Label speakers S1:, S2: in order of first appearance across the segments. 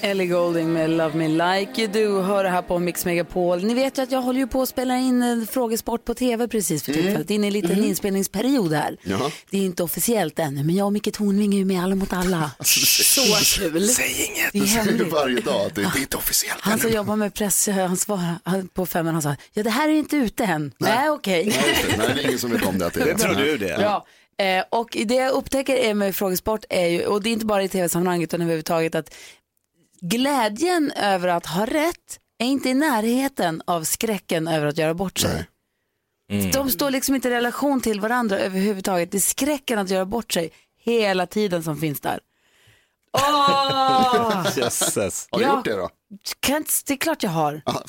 S1: Ellie Golding med Love Me Like You Do hör det här på Mix Megapol. Ni vet ju att jag håller ju på att spela in en frågesport på tv precis för tillfället. Det är inne i en liten inspelningsperiod här.
S2: Ja.
S1: Det är inte officiellt ännu men jag och Micke Tornving är ju med Alla mot alla. Så kul!
S2: Säg inget!
S1: Det är
S2: Det säger du
S1: hemligt.
S2: varje dag. att Det, det är inte officiellt.
S1: Han som
S2: ännu.
S1: jobbar med pressansvar han- eh, på femman han sa ja det här är inte ute än. Nej okej.
S2: Nej, just det. Nej, det är ingen som vet om det. Att det, är det tror du det.
S1: Bra. Eh, och det jag upptäcker är med frågesport är ju, och det är inte bara i tv-sammanhang utan överhuvudtaget att glädjen över att ha rätt är inte i närheten av skräcken över att göra bort sig.
S2: Mm.
S1: De står liksom inte i relation till varandra överhuvudtaget. Det är skräcken att göra bort sig hela tiden som finns där.
S2: Ah.
S1: Åh!
S3: Jösses.
S2: Har du
S1: Ja.
S2: gjort det då?
S1: Kan inte- det är klart jag har.
S2: Ja.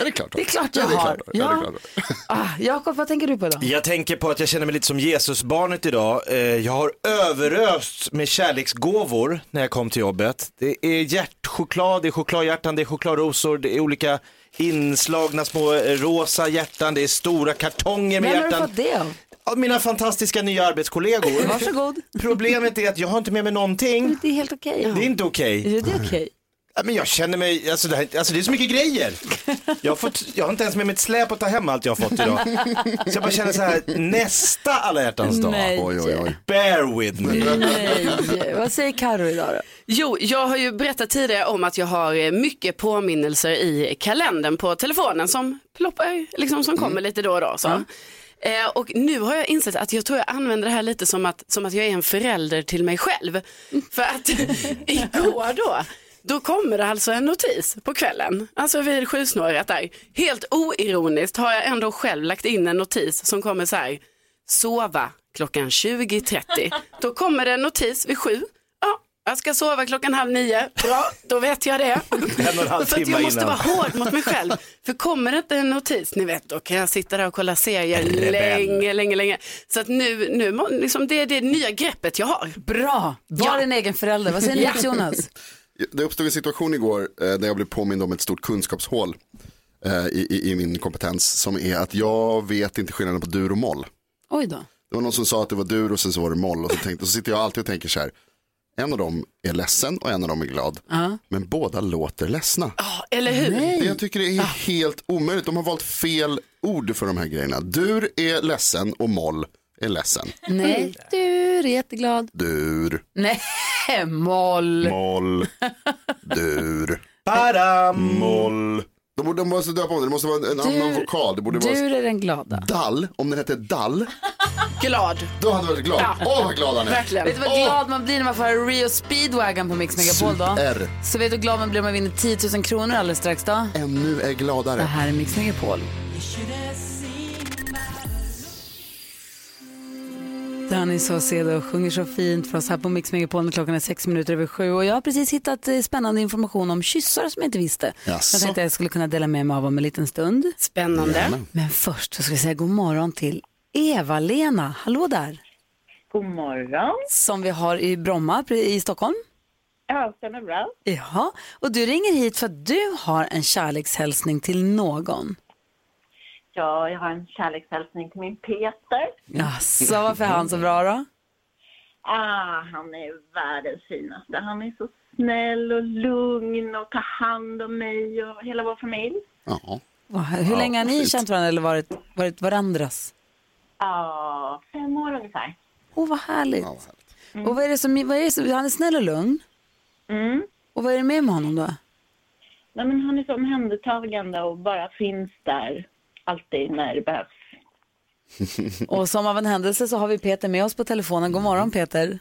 S2: är det klart? då?
S1: Det är klart jag
S2: ja, det är
S1: har.
S2: Klart, då. ja. det är
S1: Ja.
S2: klart. då.
S1: Ah, Jakob, vad tänker du på idag?
S3: Jag tänker på att jag känner mig lite som Jesusbarnet idag. Eh, Jag har överösts med kärleksgåvor när jag kom till jobbet. Det är hjärtchoklad, det är chokladhjärtan, det är chokladrosor, det är olika inslagna små eh, rosa hjärtan, det är stora kartonger med
S1: Vem har du
S3: hjärtan.
S1: fått det av?
S3: Av mina fantastiska nya arbetskollegor.
S1: Varsågod.
S3: Problemet är att jag har inte med mig någonting.
S1: Det är helt okej.
S3: Det är inte okej.
S1: Är det okej?
S3: Ja, Men jag känner mig, alltså det, här, alltså det är så mycket grejer. Jag har, fått, jag har inte ens med mig ett släp att ta hem allt jag har fått idag. Så jag bara känner så här, nästa alla hjärtans dag.
S1: Nej.
S2: Oj, oj, oj.
S3: Bear with me.
S1: Nej. Vad säger Carro idag då?
S4: Jo, jag har ju berättat tidigare om att jag har eh, mycket påminnelser i kalendern på telefonen som ploppar, liksom som
S1: Mm.
S4: kommer lite då och då. Så. Eh, och nu har jag insett att jag tror jag använder det här lite som att, som att jag är en förälder till mig själv. För att igår då, då kommer det alltså en notis på kvällen, alltså vid sjusnåret där. Helt oironiskt har jag ändå själv lagt in en notis som kommer så här, sova klockan 20.30. Då kommer det en notis vid sju. Ja, jag ska sova klockan halv nio. Bra, då vet jag det.
S3: En och en halv
S4: För att
S3: timme
S4: jag måste
S3: innan.
S4: vara hård mot mig själv. För kommer det inte en notis, ni vet, då kan jag sitta där och kolla serier
S3: rebell.
S4: länge, länge, länge. Så att nu, nu må- liksom, det är det nya greppet jag har.
S1: Bra, var en egen förälder. Vad säger ni Jonas?
S2: Det uppstod en situation igår eh, där jag blev påmind om ett stort kunskapshål eh, i, i, i min kompetens som är att jag vet inte skillnaden på dur och moll.
S1: Oj då.
S2: Det var någon som sa att det var dur och sen så var det moll och så, tänkte, och så sitter jag alltid och tänker så här. En av dem är ledsen och en av dem är glad. Men båda låter ledsna.
S4: Ja, eller hur?
S2: Jag tycker
S1: Ah.
S2: det är helt omöjligt. De har valt fel ord för de här grejerna. Dur är ledsen och moll är ledsen.
S4: Mm.
S1: Nej, du är jätteglad.
S2: Dur,
S1: Nej, moll.
S2: moll, dur,
S3: Badam.
S2: moll. De, borde- de måste döpa om det, det måste vara en annan
S1: Dur-
S2: vokal. Det borde vara
S1: Du är den glada.
S2: dall, om den hette dall,
S4: Glad.
S2: då hade jag varit glad. Åh vad glad han är.
S4: Verkligen.
S1: Vet du vad glad man blir när man får höra Rio Speedwagon på Mix Megapol då?
S2: Super.
S1: Så vet du hur glad man blir om man vinner 10 000 kronor alldeles strax då?
S2: Ännu är
S1: Det
S2: gladare.
S1: här är Mix Megapol. Danny Saucedo sjunger så fint för oss här på Mix Megapol när klockan är sex minuter över sju. Och jag har precis hittat eh, spännande information om kyssar som jag inte visste.
S2: Jaså?
S1: Jag tänkte jag skulle kunna dela med mig av om en liten stund.
S4: Spännande.
S1: Men först så ska vi säga god morgon till Eva-Lena. Hallå där!
S5: God morgon.
S1: Som vi har i Bromma pre- i Stockholm.
S5: Ja, stämmer bra.
S1: Jaha, och du ringer hit för att du har en kärlekshälsning till någon.
S5: Ja, jag har en kärlekshälsning till min Peter.
S1: Jaså, varför är han så bra då?
S5: Ah, han är världens finaste. Han är så snäll och lugn och tar hand om mig och hela vår familj.
S2: Ja.
S1: Vad- Hur länge har ni känt varandra eller varit, varit varandras?
S5: Ja, fem år ungefär.
S1: Åh, vad härligt.
S2: Ja, vad härligt.
S1: Och vad är det som, vad är det som, han är snäll och lugn.
S5: Mm.
S1: Och vad är det med med honom då?
S5: Nej, men han är så omhändertagande och bara finns där alltid när det behövs.
S1: Och som av en händelse så har vi Peter med oss på telefonen. God morgon Peter.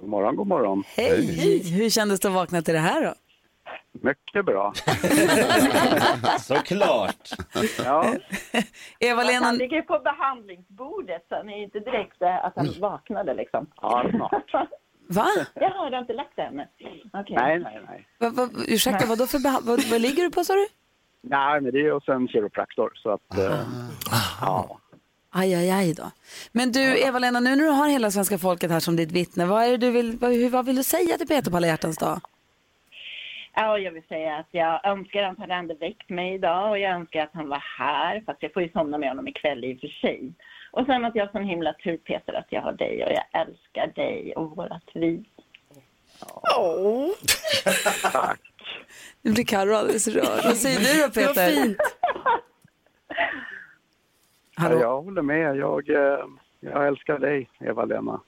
S6: God morgon, god morgon.
S1: Hej. Hur kändes det att vakna till det här då?
S6: Mycket bra.
S3: Såklart.
S6: Ja,
S5: Att
S1: Eva-Lena,
S5: han ligger på behandlingsbordet, så han är ju inte direkt eh, att han vaknade liksom.
S6: ja snart.
S1: Mm. va?
S5: Jag har du inte lagt det ännu. Okej.
S6: Nej, nej, nej.
S1: Va, va, ursäkta, vad, då för beha- vad, vad ligger du på sa du?
S6: Nej, men det är ju också en kiropraktor. Så att, eh,
S3: Ah.
S6: ja.
S1: Aj, aj, aj då. Men du, Eva-Lena, nu när du har hela svenska folket här som ditt vittne, vad, är det du vill, vad, hur- vad vill du säga till Peter på alla hjärtans dag?
S5: Ja, jag vill säga att jag önskar att han hade väckt mig idag och jag önskar att han var här. Fast jag får ju somna med honom ikväll i och för sig. Och sen att jag har sån himla tur Peter att jag har dig och jag älskar dig och vårat vi.
S1: Nu blir Carro alldeles rörd. Vad säger du då Peter? Vad fint.
S6: Ja,
S1: Hallå,
S6: jag håller med. Jag, eh, jag älskar dig, Eva-Lena.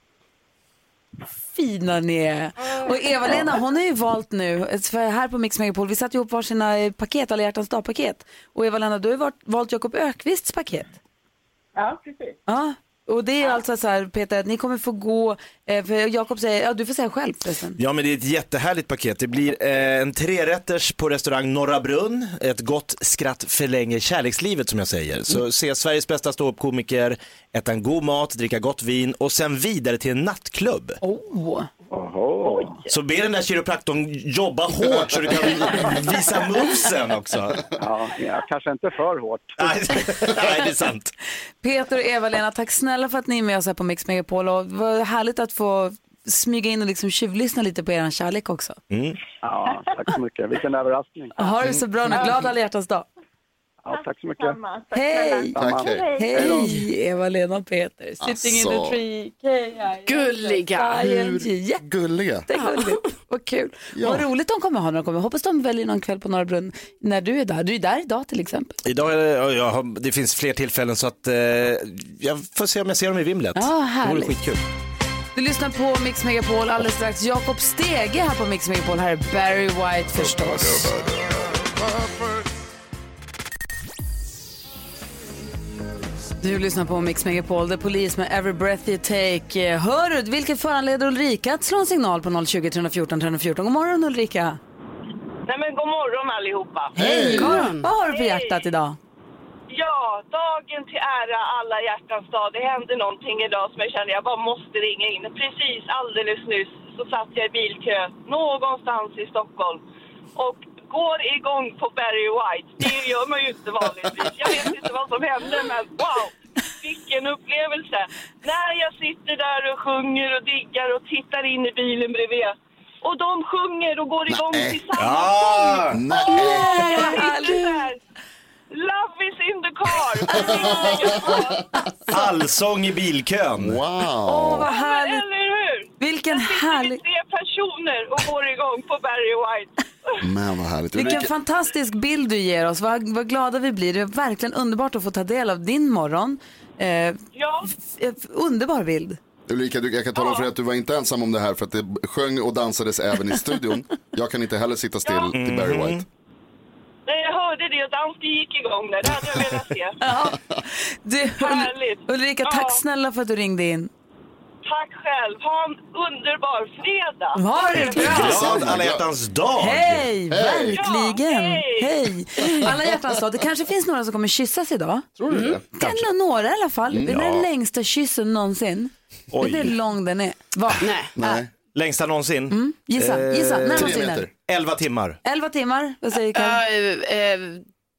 S1: fina ni är. Och Eva-Lena, hon har ju valt nu, för här på Mix Megapol, vi satte ihop varsina eh, paket, alla hjärtans dag-paket. Och Eva-Lena, du har ju valt- valt Jakob Ökvists paket.
S5: Ja, precis.
S1: Ja, och det är alltså så här Peter, att ni kommer få gå, eh, för Jakob säger, ja du får säga själv förresten.
S3: Ja men det är ett jättehärligt paket. Det blir eh, en trerätters på restaurang Norra Brunn. Ett gott skratt förlänger kärlekslivet som jag säger.
S1: Mm.
S3: Så se Sveriges bästa ståuppkomiker, äta en god mat, dricka gott vin och sen vidare till en nattklubb.
S1: Oh.
S6: Oho.
S3: Så be den där kiropraktorn jobba hårt så du kan visa movesen också.
S6: Ja, ja, kanske inte för hårt.
S3: Nej, nej, det är sant.
S1: Peter och Eva-Lena, tack snälla för att ni är med oss här på Mix Megapol och vad härligt att få smyga in och liksom tjuvlyssna lite på er kärlek också.
S3: Mm.
S6: Ja, tack så mycket. Vilken överraskning.
S1: Ha det så bra nu, glad alla hjärtans dag.
S6: Ja, tack så mycket.
S5: Samma. Tack snälla.
S1: Hej!
S2: Tack, hej.
S1: Hej Eva-Lena och Peter, sitting in the
S2: Alltså.
S1: tree, K.I.N.G..
S4: Gulliga.
S2: Gulliga.
S1: Jättegulligt, vad kul. Vad roligt de kommer ha när de kommer, hoppas de väljer någon kväll på Norra Brunn när du är där. Du är där idag till exempel.
S3: Idag är det, ja, jag har, det finns fler tillfällen så att eh, jag får se om jag ser dem i vimlet.
S1: Ja,
S3: det vore
S1: härligt.
S3: skitkul.
S1: Du lyssnar på Mix Megapol alldeles strax. Jakob Stege här på Mix Megapol. Här är Barry White förstås. Du lyssnar på Mix Megapol, The Police med Every Breath You Take. Eh, Hör du, vilket föranleder Ulrika att slå en signal på 020 314 314. God morgon Ulrika!
S5: Nej men god morgon allihopa.
S1: Hej! Vad har du på hjärtat idag?
S5: Ja, dagen till ära alla hjärtans dag. Det hände någonting idag som jag kände jag bara måste ringa in. Precis alldeles nyss så satt jag i bilkö någonstans i Stockholm och går igång på Barry White. Det gör man ju inte vanligtvis. Jag vet inte vad som hände men wow! Vilken upplevelse! När jag sitter där och sjunger och diggar och tittar in i bilen bredvid och de sjunger och går igång
S2: Nej.
S5: tillsammans.
S3: Ah!
S2: Nej.
S5: Jag sitter där. Love is in the car!
S3: Allsång i bilkön.
S2: Wow.
S1: Åh, vad
S5: Men,
S1: härligt!
S5: eller hur?
S1: Vilken
S5: Vi
S1: härlig...
S5: tre personer och går igång på Barry White.
S2: Men vad härligt.
S1: Vilken
S2: Ulrika,
S1: fantastisk bild du ger oss. Vad, vad glada vi blir. Det är verkligen underbart att få ta del av din morgon. Eh,
S5: Ja,
S1: F- Underbar bild.
S2: Ulrika du, jag kan tala om för dig att du var inte ensam om det här för att det sjöng och dansades även i studion. Jag kan inte heller sitta still till Barry
S3: Mm.
S2: White.
S5: när jag hörde det och dansken gick igång där. Det hade jag velat se.
S1: Du, Ul-
S5: Härligt.
S1: Ulrika,
S5: Ja.
S1: tack snälla för att du ringde in.
S5: Tack själv. Ha en underbar fredag.
S1: Ha det bra!
S3: Glad alla hjärtans dag!
S1: Hej, verkligen.
S5: Ja,
S1: hej.
S5: hej.
S1: Alla hjärtans dag. Det kanske finns några som kommer kyssas idag.
S2: Tror du
S1: Mm.
S2: det?
S1: Denna några i alla fall. Det är den
S3: Ja.
S1: längsta kyssen någonsin. Vet du hur
S3: Oj,
S1: lång den är? Va?
S4: Nej.
S2: Nej.
S3: längsta någonsin.
S1: Mm. Gissa, gissa. När
S2: Tre
S1: någonsin är
S2: meter.
S3: 11 timmar.
S1: 11 timmar. Vad säger Karin?
S4: Ja, eh, eh,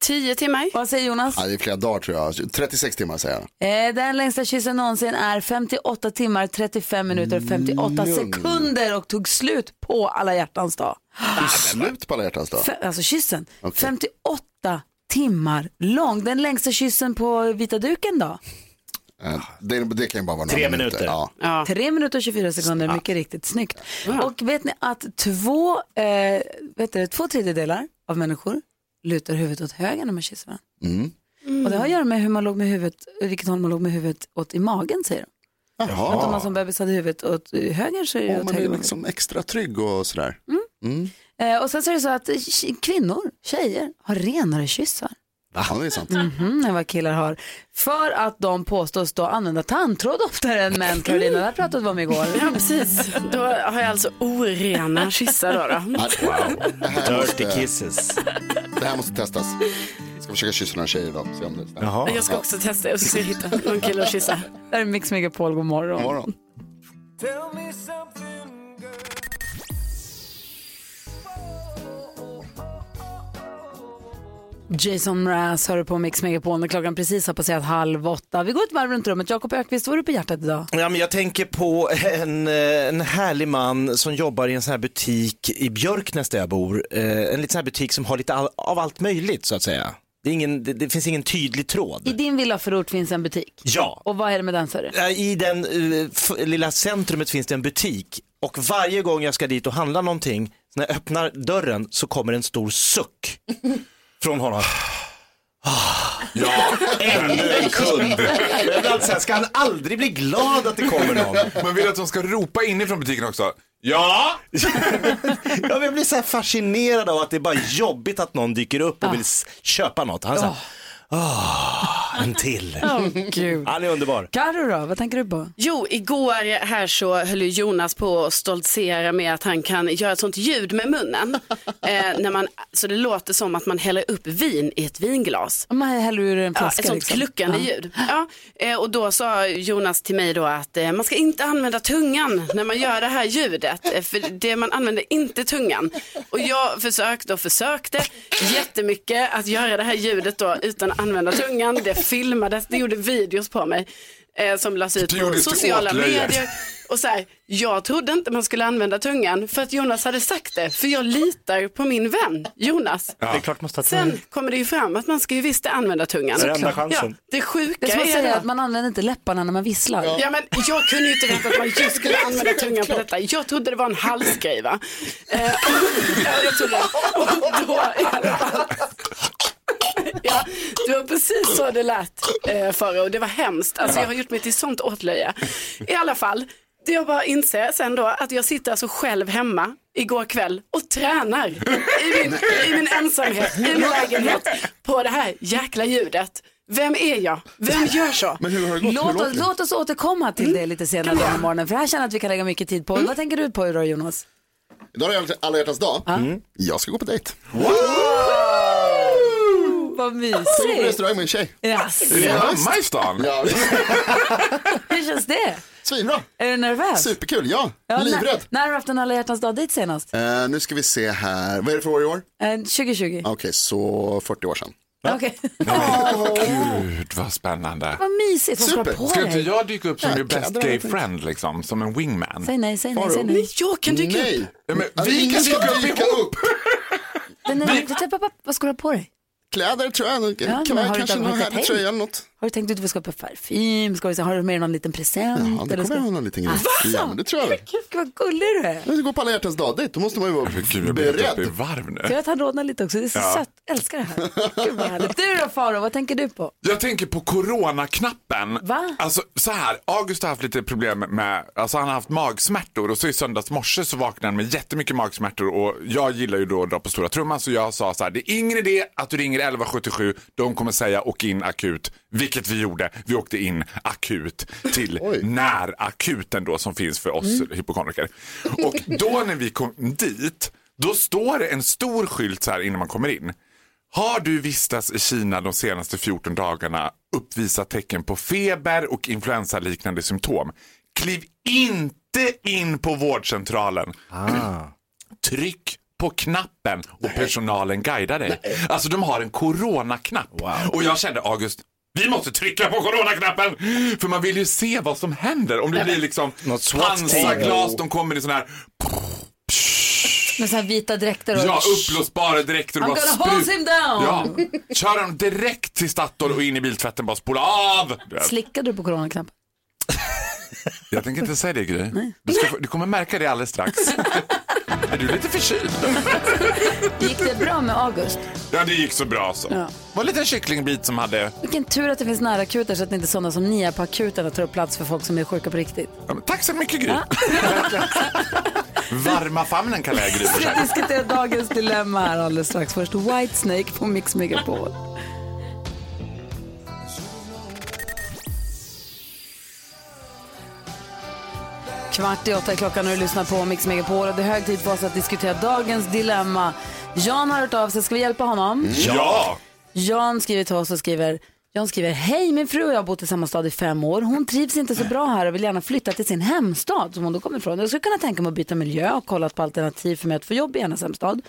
S4: tio timmar.
S1: Vad säger Jonas?
S2: Ja, det är flera dagar tror jag. 36 timmar säger jag.
S1: Eh, Den längsta kyssen någonsin är 58 timmar, 35 minuter,
S2: Mm.
S1: 58 sekunder och tog slut på alla hjärtans dag.
S2: Det är Slut på alla hjärtans dag.
S1: Fe- alltså kyssen,
S2: Okej.
S1: 58 timmar lång. Den längsta kyssen på vita duken då?
S2: Eh, Det, det kan ju bara vara några
S3: Tre
S2: minuter.
S3: minuter.
S2: Ja.
S4: Ja.
S1: 3 minuter och 24 sekunder, mycket riktigt snyggt. Och vet ni att två, eh, vet du, två tredjedelar av människor lutar huvudet åt höger när man kysser varandra.
S2: Mm.
S1: Och det har att göra med hur man låg med huvudet, vilket håll man låg med huvudet åt i magen säger de. Att om man
S2: Jaha.
S1: som bebis hade huvudet åt höger så är det
S2: Om
S1: åt
S2: man
S1: höger.
S2: är liksom extra trygg och sådär.
S3: Mm.
S2: Mm.
S1: Eh, och sen så är det så att eh, k- kvinnor, tjejer, har renare kyssar.
S2: Ja, det är sant.
S1: Mhm, än vad killar har. För att de påstås då använda tandtråd oftare än män. Karolina, det här pratade vi om igår.
S4: Ja, precis. Då har jag alltså orena kyssar då. då.
S2: Ja, Wow. Det, här
S3: Dirty
S2: måste,
S3: kisses.
S2: det här måste testas. Jag ska försöka kyssa några tjejer idag. Se om det stämmer.
S3: Jaha.
S4: Jag ska också testa och så ska jag hitta någon kille att kyssa.
S1: Där är Mix Megapol, god morgon.
S2: God morgon.
S1: Jason Mraz hör på Mix Megapol när klockan precis har passerat halv åtta. Vi går ett varv runt rummet. Jakob Ökvist, vad har du på hjärtat idag?
S3: Ja, men jag tänker på en, eh, en härlig man som jobbar i en sån här butik i Björknäs där jag bor. Eh, En liten sån här butik som har lite all, av allt möjligt så att säga. Det, är ingen, det, det finns ingen tydlig
S1: I
S3: tråd.
S1: din villaförort finns en butik.
S3: Ja,
S1: Och vad är det med den, sa du?
S3: Eh, I den eh, f- lilla centrumet finns det en butik och varje gång jag ska dit och handla någonting, när jag öppnar dörren så kommer en stor suck från honom. Ja, ännu en kund. Jag blir alltid så här, Ska han aldrig bli glad att det kommer någon?
S7: Man vill att de ska ropa inifrån butiken också. Ja!
S3: Ja, men jag blir så här fascinerad av att det är bara jobbigt att någon dyker upp och vill s- köpa något. Han säger, åh, en till.
S1: Gud.
S3: Han är underbar.
S1: Karo då, vad tänker du på?
S4: Jo, igår här så höll ju Jonas på att stoltsera med att han kan göra ett sånt ljud med munnen. Eh, när man, så det låter som att man häller upp vin i ett vinglas.
S1: Om man häller ur en
S4: Ja,
S1: flaska.
S4: ett sånt
S1: liksom.
S4: kluckande
S1: Ja.
S4: ljud. Ja, eh, och då sa Jonas till mig då att eh, man ska inte använda tungan när man gör det här ljudet. eh, För det man använder inte tungan. Och jag försökte och försökte jättemycket att göra det här ljudet då utan att använda tungan. Det filmades, det gjorde videos på mig. eh, Som lades ut
S7: Det
S4: på
S7: gjordes till
S4: sociala
S7: åtlöje.
S4: medier. Och så här, jag trodde inte man skulle använda tungan för att Jonas hade sagt det. För jag litar på min vän Jonas.
S3: Det är klart man ska ta
S4: Sen kommer det ju fram att man ska ju visst använda tungan.
S3: Det är enda chansen.
S4: Ja, det sjuka
S1: Det är som att
S4: är,
S1: säga
S4: det.
S1: att man använder inte läpparna när man visslar.
S4: Ja, men jag kunde ju inte veta att man just skulle använda tungan på detta. Jag trodde det var en halsgrej va? Eh, ja, jag trodde det. Och då, ja, det var precis så det lät eh, förra och det var hemskt. Alltså jag har gjort mig till sånt åtlöje. I alla fall, det jag bara inser sen då att jag sitter alltså själv hemma igår kväll och tränar i min, i min ensamhet, i min lägenhet på det här jäkla ljudet. Vem är jag? Vem gör så?
S2: Men hur har det gått? Hur
S1: Låt
S2: låter
S1: oss,
S2: det?
S1: låt oss återkomma till det lite senare den här morgonen, för det här känner jag att vi kan lägga mycket tid på.
S2: Mm.
S1: Vad tänker du på idag Jonas?
S2: Idag är det alla hjärtans dag.
S3: Mm.
S2: Jag ska gå på dejt.
S1: Vad
S2: Jag går på
S1: mysigt.
S2: restaurang med en tjej.
S1: Yes.
S7: Är din mamma i stan?
S2: Ja.
S1: Hur känns det?
S2: Svinbra.
S1: Är du nervös?
S2: Superkul, ja.
S1: Ja,
S2: Livrädd.
S1: När, när har du haft en alla hjärtans dag dit senast?
S2: Eh, nu ska vi se här. Vad är det för år i år?
S1: Eh, 2020?
S2: Okej, så 40 år sedan.
S1: Okej.
S7: Gud vad spännande.
S1: Vad mysigt, vad ska du
S2: Super.
S1: ha på
S7: Ska inte
S1: dig?
S7: jag dyka upp som
S2: Ja,
S7: your
S2: jag
S7: best
S2: drar
S7: gay
S2: inte.
S7: friend liksom, som en wingman?
S1: Säg nej, säg nej,
S2: Faro.
S1: säg nej.
S4: Nej, jag kan dyka upp.
S2: Nej,
S7: Ja, men
S2: Alltså,
S7: vi
S2: ingen
S7: kan
S2: ska
S7: dyka upp
S2: dyka upp.
S1: Men, nej, nej, pappa, pappa, vad ska du ha på dig?
S2: Kläder tror jag, nog.
S1: men
S2: kan
S1: har
S2: man
S1: du
S2: kanske
S1: inte-
S2: någon
S1: har du inte
S2: härlig
S1: tänkt?
S2: tröja eller något.
S1: Har du tänkt ut vad du ska ha på parfym? Ska du, säga, har du med dig någon liten present?
S2: Ja, det
S1: Eller ska...
S2: kommer jag ha någon liten grej. Ja, men det tror jag. väl.
S1: Gud, vad gullig du är.
S2: Jag ska gå på alla hjärtans dag dit, då måste man ju vara
S7: Gud, jag blir helt uppe i
S2: beredd.
S7: varv nu.
S1: Jag vet att han rodnar lite också, det är så
S7: Ja.
S1: sött. Älskar det här. Gud vad härligt. Du då Faro, vad tänker du på?
S7: Jag tänker på coronaknappen.
S1: Va?
S7: Alltså så här, August har haft lite problem med, alltså han har haft magsmärtor och så i söndags morse så vaknade han med jättemycket magsmärtor och jag gillar ju då att dra på stora trumman så jag sa så här, det är ingen idé att du ringer 1177, de kommer säga åk in akut, vilket vi gjorde. Vi åkte in akut till
S2: Oj.
S7: närakuten då som finns för oss hypokondriker. Och då när vi kom dit, då står det en stor skylt så här innan man kommer in. Har du vistats i Kina de senaste 14 dagarna, uppvisat tecken på feber och influensaliknande symptom, kliv inte in på vårdcentralen.
S3: Ah.
S7: Tryck på knappen och personalen guidar dig. Alltså de har en coronaknapp. Och jag kände August, vi måste trycka på coronaknappen! För man vill ju se vad som händer. Om det blir liksom
S3: Något SWAT-team.
S7: pansarglas, de kommer i sån här
S1: Med så här vita dräkter och...
S7: Ja, uppblåsbara dräkter och
S1: I'm
S7: bara
S1: gonna hold him down!
S7: Ja, kör dem direkt till Statoil och in i biltvätten, bara spola av!
S1: Slickade du på coronaknappen?
S7: Jag tänker inte säga det Gry. Du, ska, få- du kommer märka det alldeles strax. Är du lite förkyld?
S1: Gick det bra med August?
S7: Ja, det gick så bra så.
S1: Ja.
S7: var en liten kycklingbit som hade...
S1: Vilken tur att det finns nära akuter så att inte sådana som ni är på akuterna tar upp plats för folk som är sjuka på riktigt.
S7: Ja, men Tack så mycket Gry. Varma famnen kallar jag Gry
S1: Vi
S7: för sig.
S1: ska diskutera dagens dilemma här alldeles strax. Först Whitesnake på Mix Megapol. Kvart i åtta är klockan och du lyssnar på Mix Megapol och det är hög tid för oss att diskutera dagens dilemma. Jan har hört av sig, ska vi hjälpa honom?
S7: Ja!
S1: Jan skriver till oss och skriver Jan skriver, hej min fru och jag har bott i samma stad i fem år. Hon trivs inte så bra här och vill gärna flytta till sin hemstad som hon då kommer ifrån. Jag skulle kunna tänka mig att byta miljö och kollat på alternativ för mig att få jobb i hennes hemstad.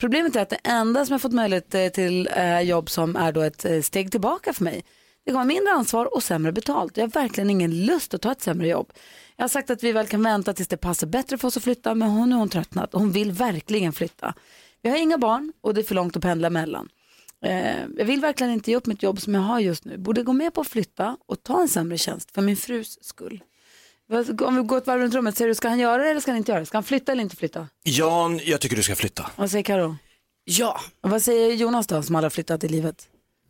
S1: Problemet är att det enda som jag fått möjlighet eh, till eh, jobb som är då ett eh, steg tillbaka för mig. Det kommer mindre ansvar och sämre betalt. Jag har verkligen ingen lust att ta ett sämre jobb. Jag har sagt att vi väl kan vänta tills det passar bättre för oss att flytta, men hon nu har hon tröttnat. Hon vill verkligen flytta. Vi har inga barn och det är för långt att pendla mellan. Eh, jag vill verkligen inte ge upp mitt jobb som jag har just nu. Borde gå med på att flytta och ta en sämre tjänst för min frus skull. Vad- Om vi går ett varv runt rummet, säger du, ska han göra det eller ska han inte göra det? Ska han flytta eller inte flytta?
S3: Jan, jag tycker du ska flytta.
S1: Vad säger Karo?
S4: Ja.
S1: Vad säger Jonas då, som aldrig har flyttat i livet?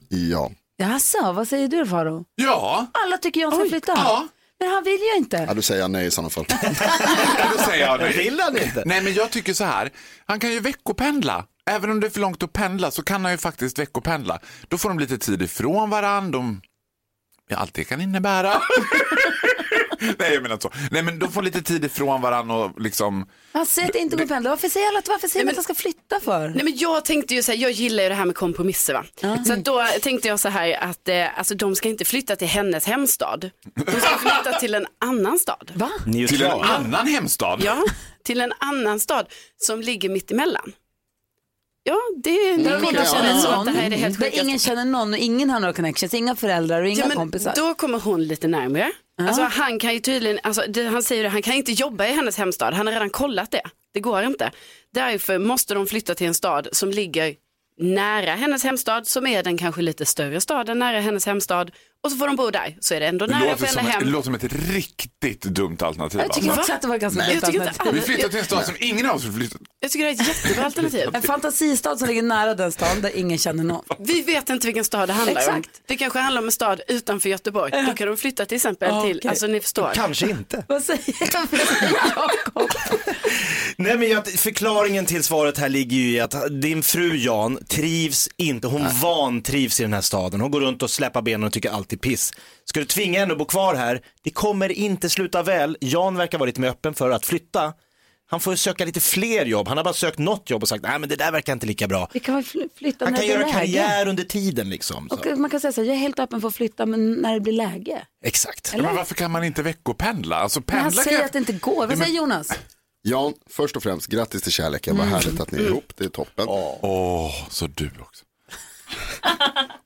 S2: Ja.
S1: Jaså, vad säger du Faro?
S7: Ja.
S1: Alla tycker jag ska flytta. Men han vill ju inte.
S2: ja, då säger jag nej i sådana fall.
S7: Då säger jag nej.
S3: Vill han inte?
S7: Nej, men jag tycker så här. Han kan ju veckopendla. Även om det är för långt att pendla så kan han ju faktiskt veckopendla. Då får de lite tid ifrån varandra. De... Ja, allt det kan innebära. nej, jag menar inte så. Nej, men de får lite tid ifrån varandra och liksom...
S1: Han säger att det inte går att pendla. Varför säger alla att, varför säger man att han ska flytta för?
S4: Nej, men jag tänkte ju så här, jag gillar ju det här med kompromisser va. Så att då tänkte jag så här att eh, alltså, de ska inte flytta till hennes hemstad. De ska flytta till en annan stad.
S1: Va?
S7: Till en
S3: Neutral.
S7: annan hemstad.
S4: Ja, till en annan stad som ligger mitt emellan. Ja, det är
S1: Där
S4: nu
S1: ingen känner
S4: så
S1: någon,
S4: att det här är det helt
S1: där
S4: sjukaste.
S1: ingen känner någon och ingen har några connections, inga föräldrar och inga
S4: Ja, men
S1: kompisar.
S4: Då kommer hon lite närmre. Alltså, han kan ju tydligen, alltså, det, han säger det, han kan inte jobba i hennes hemstad. Han har redan kollat det. Det går inte. Därför måste de flytta till en stad som ligger nära hennes hemstad, som är den kanske lite större staden nära hennes hemstad. Och så får de bo där, så är det ändå
S7: Det
S4: nära
S7: låter,
S4: för
S7: som
S4: henne
S7: ett, det
S4: hem.
S7: låter som ett riktigt dumt alternativ.
S1: jag tycker
S7: alltså.
S1: också att det var ett ganska
S4: Nej,
S1: dumt
S4: jag tycker inte
S1: alternativ.
S7: Vi flyttar till en stad som ingen av oss vill flytta
S4: Jag tycker det är ett jättebra alternativ.
S1: En fantasistad som ligger nära den stan där ingen känner någon.
S4: Vi vet inte vilken stad det handlar om.
S1: Exakt.
S4: Det kanske handlar om en stad utanför Göteborg. Då kan de flytta till exempel till,
S1: okej.
S4: alltså ni förstår.
S3: Kanske inte.
S1: Vad säger vad säger Jakob?
S3: Nej men jag, förklaringen till svaret här ligger ju i att din fru Jan trivs inte, hon vantrivs i den här staden. Hon går runt och släpar benen och tycker allt är piss. Ska du tvinga henne att bo kvar här, det kommer inte sluta väl. Jan verkar vara lite mer öppen för att flytta. Han får söka lite fler jobb, han har bara sökt något jobb och sagt nej men det där verkar inte lika bra.
S1: Vi kan väl fly- flytta
S3: Han
S1: när
S3: kan
S1: det blir
S3: göra
S1: läge.
S3: karriär under tiden liksom. Så.
S1: Och man kan säga så här, jag är helt öppen för att flytta men när det blir läge.
S3: Exakt.
S7: Ja, men varför kan man inte veckopendla? Alltså,
S1: Men
S7: pendla
S1: han säger
S7: kan-
S1: att det inte går. Vad säger Jonas?
S2: Jan, först och främst grattis till kärleken. Vad härligt att ni är ihop. Det är toppen.
S7: Åh, så du också.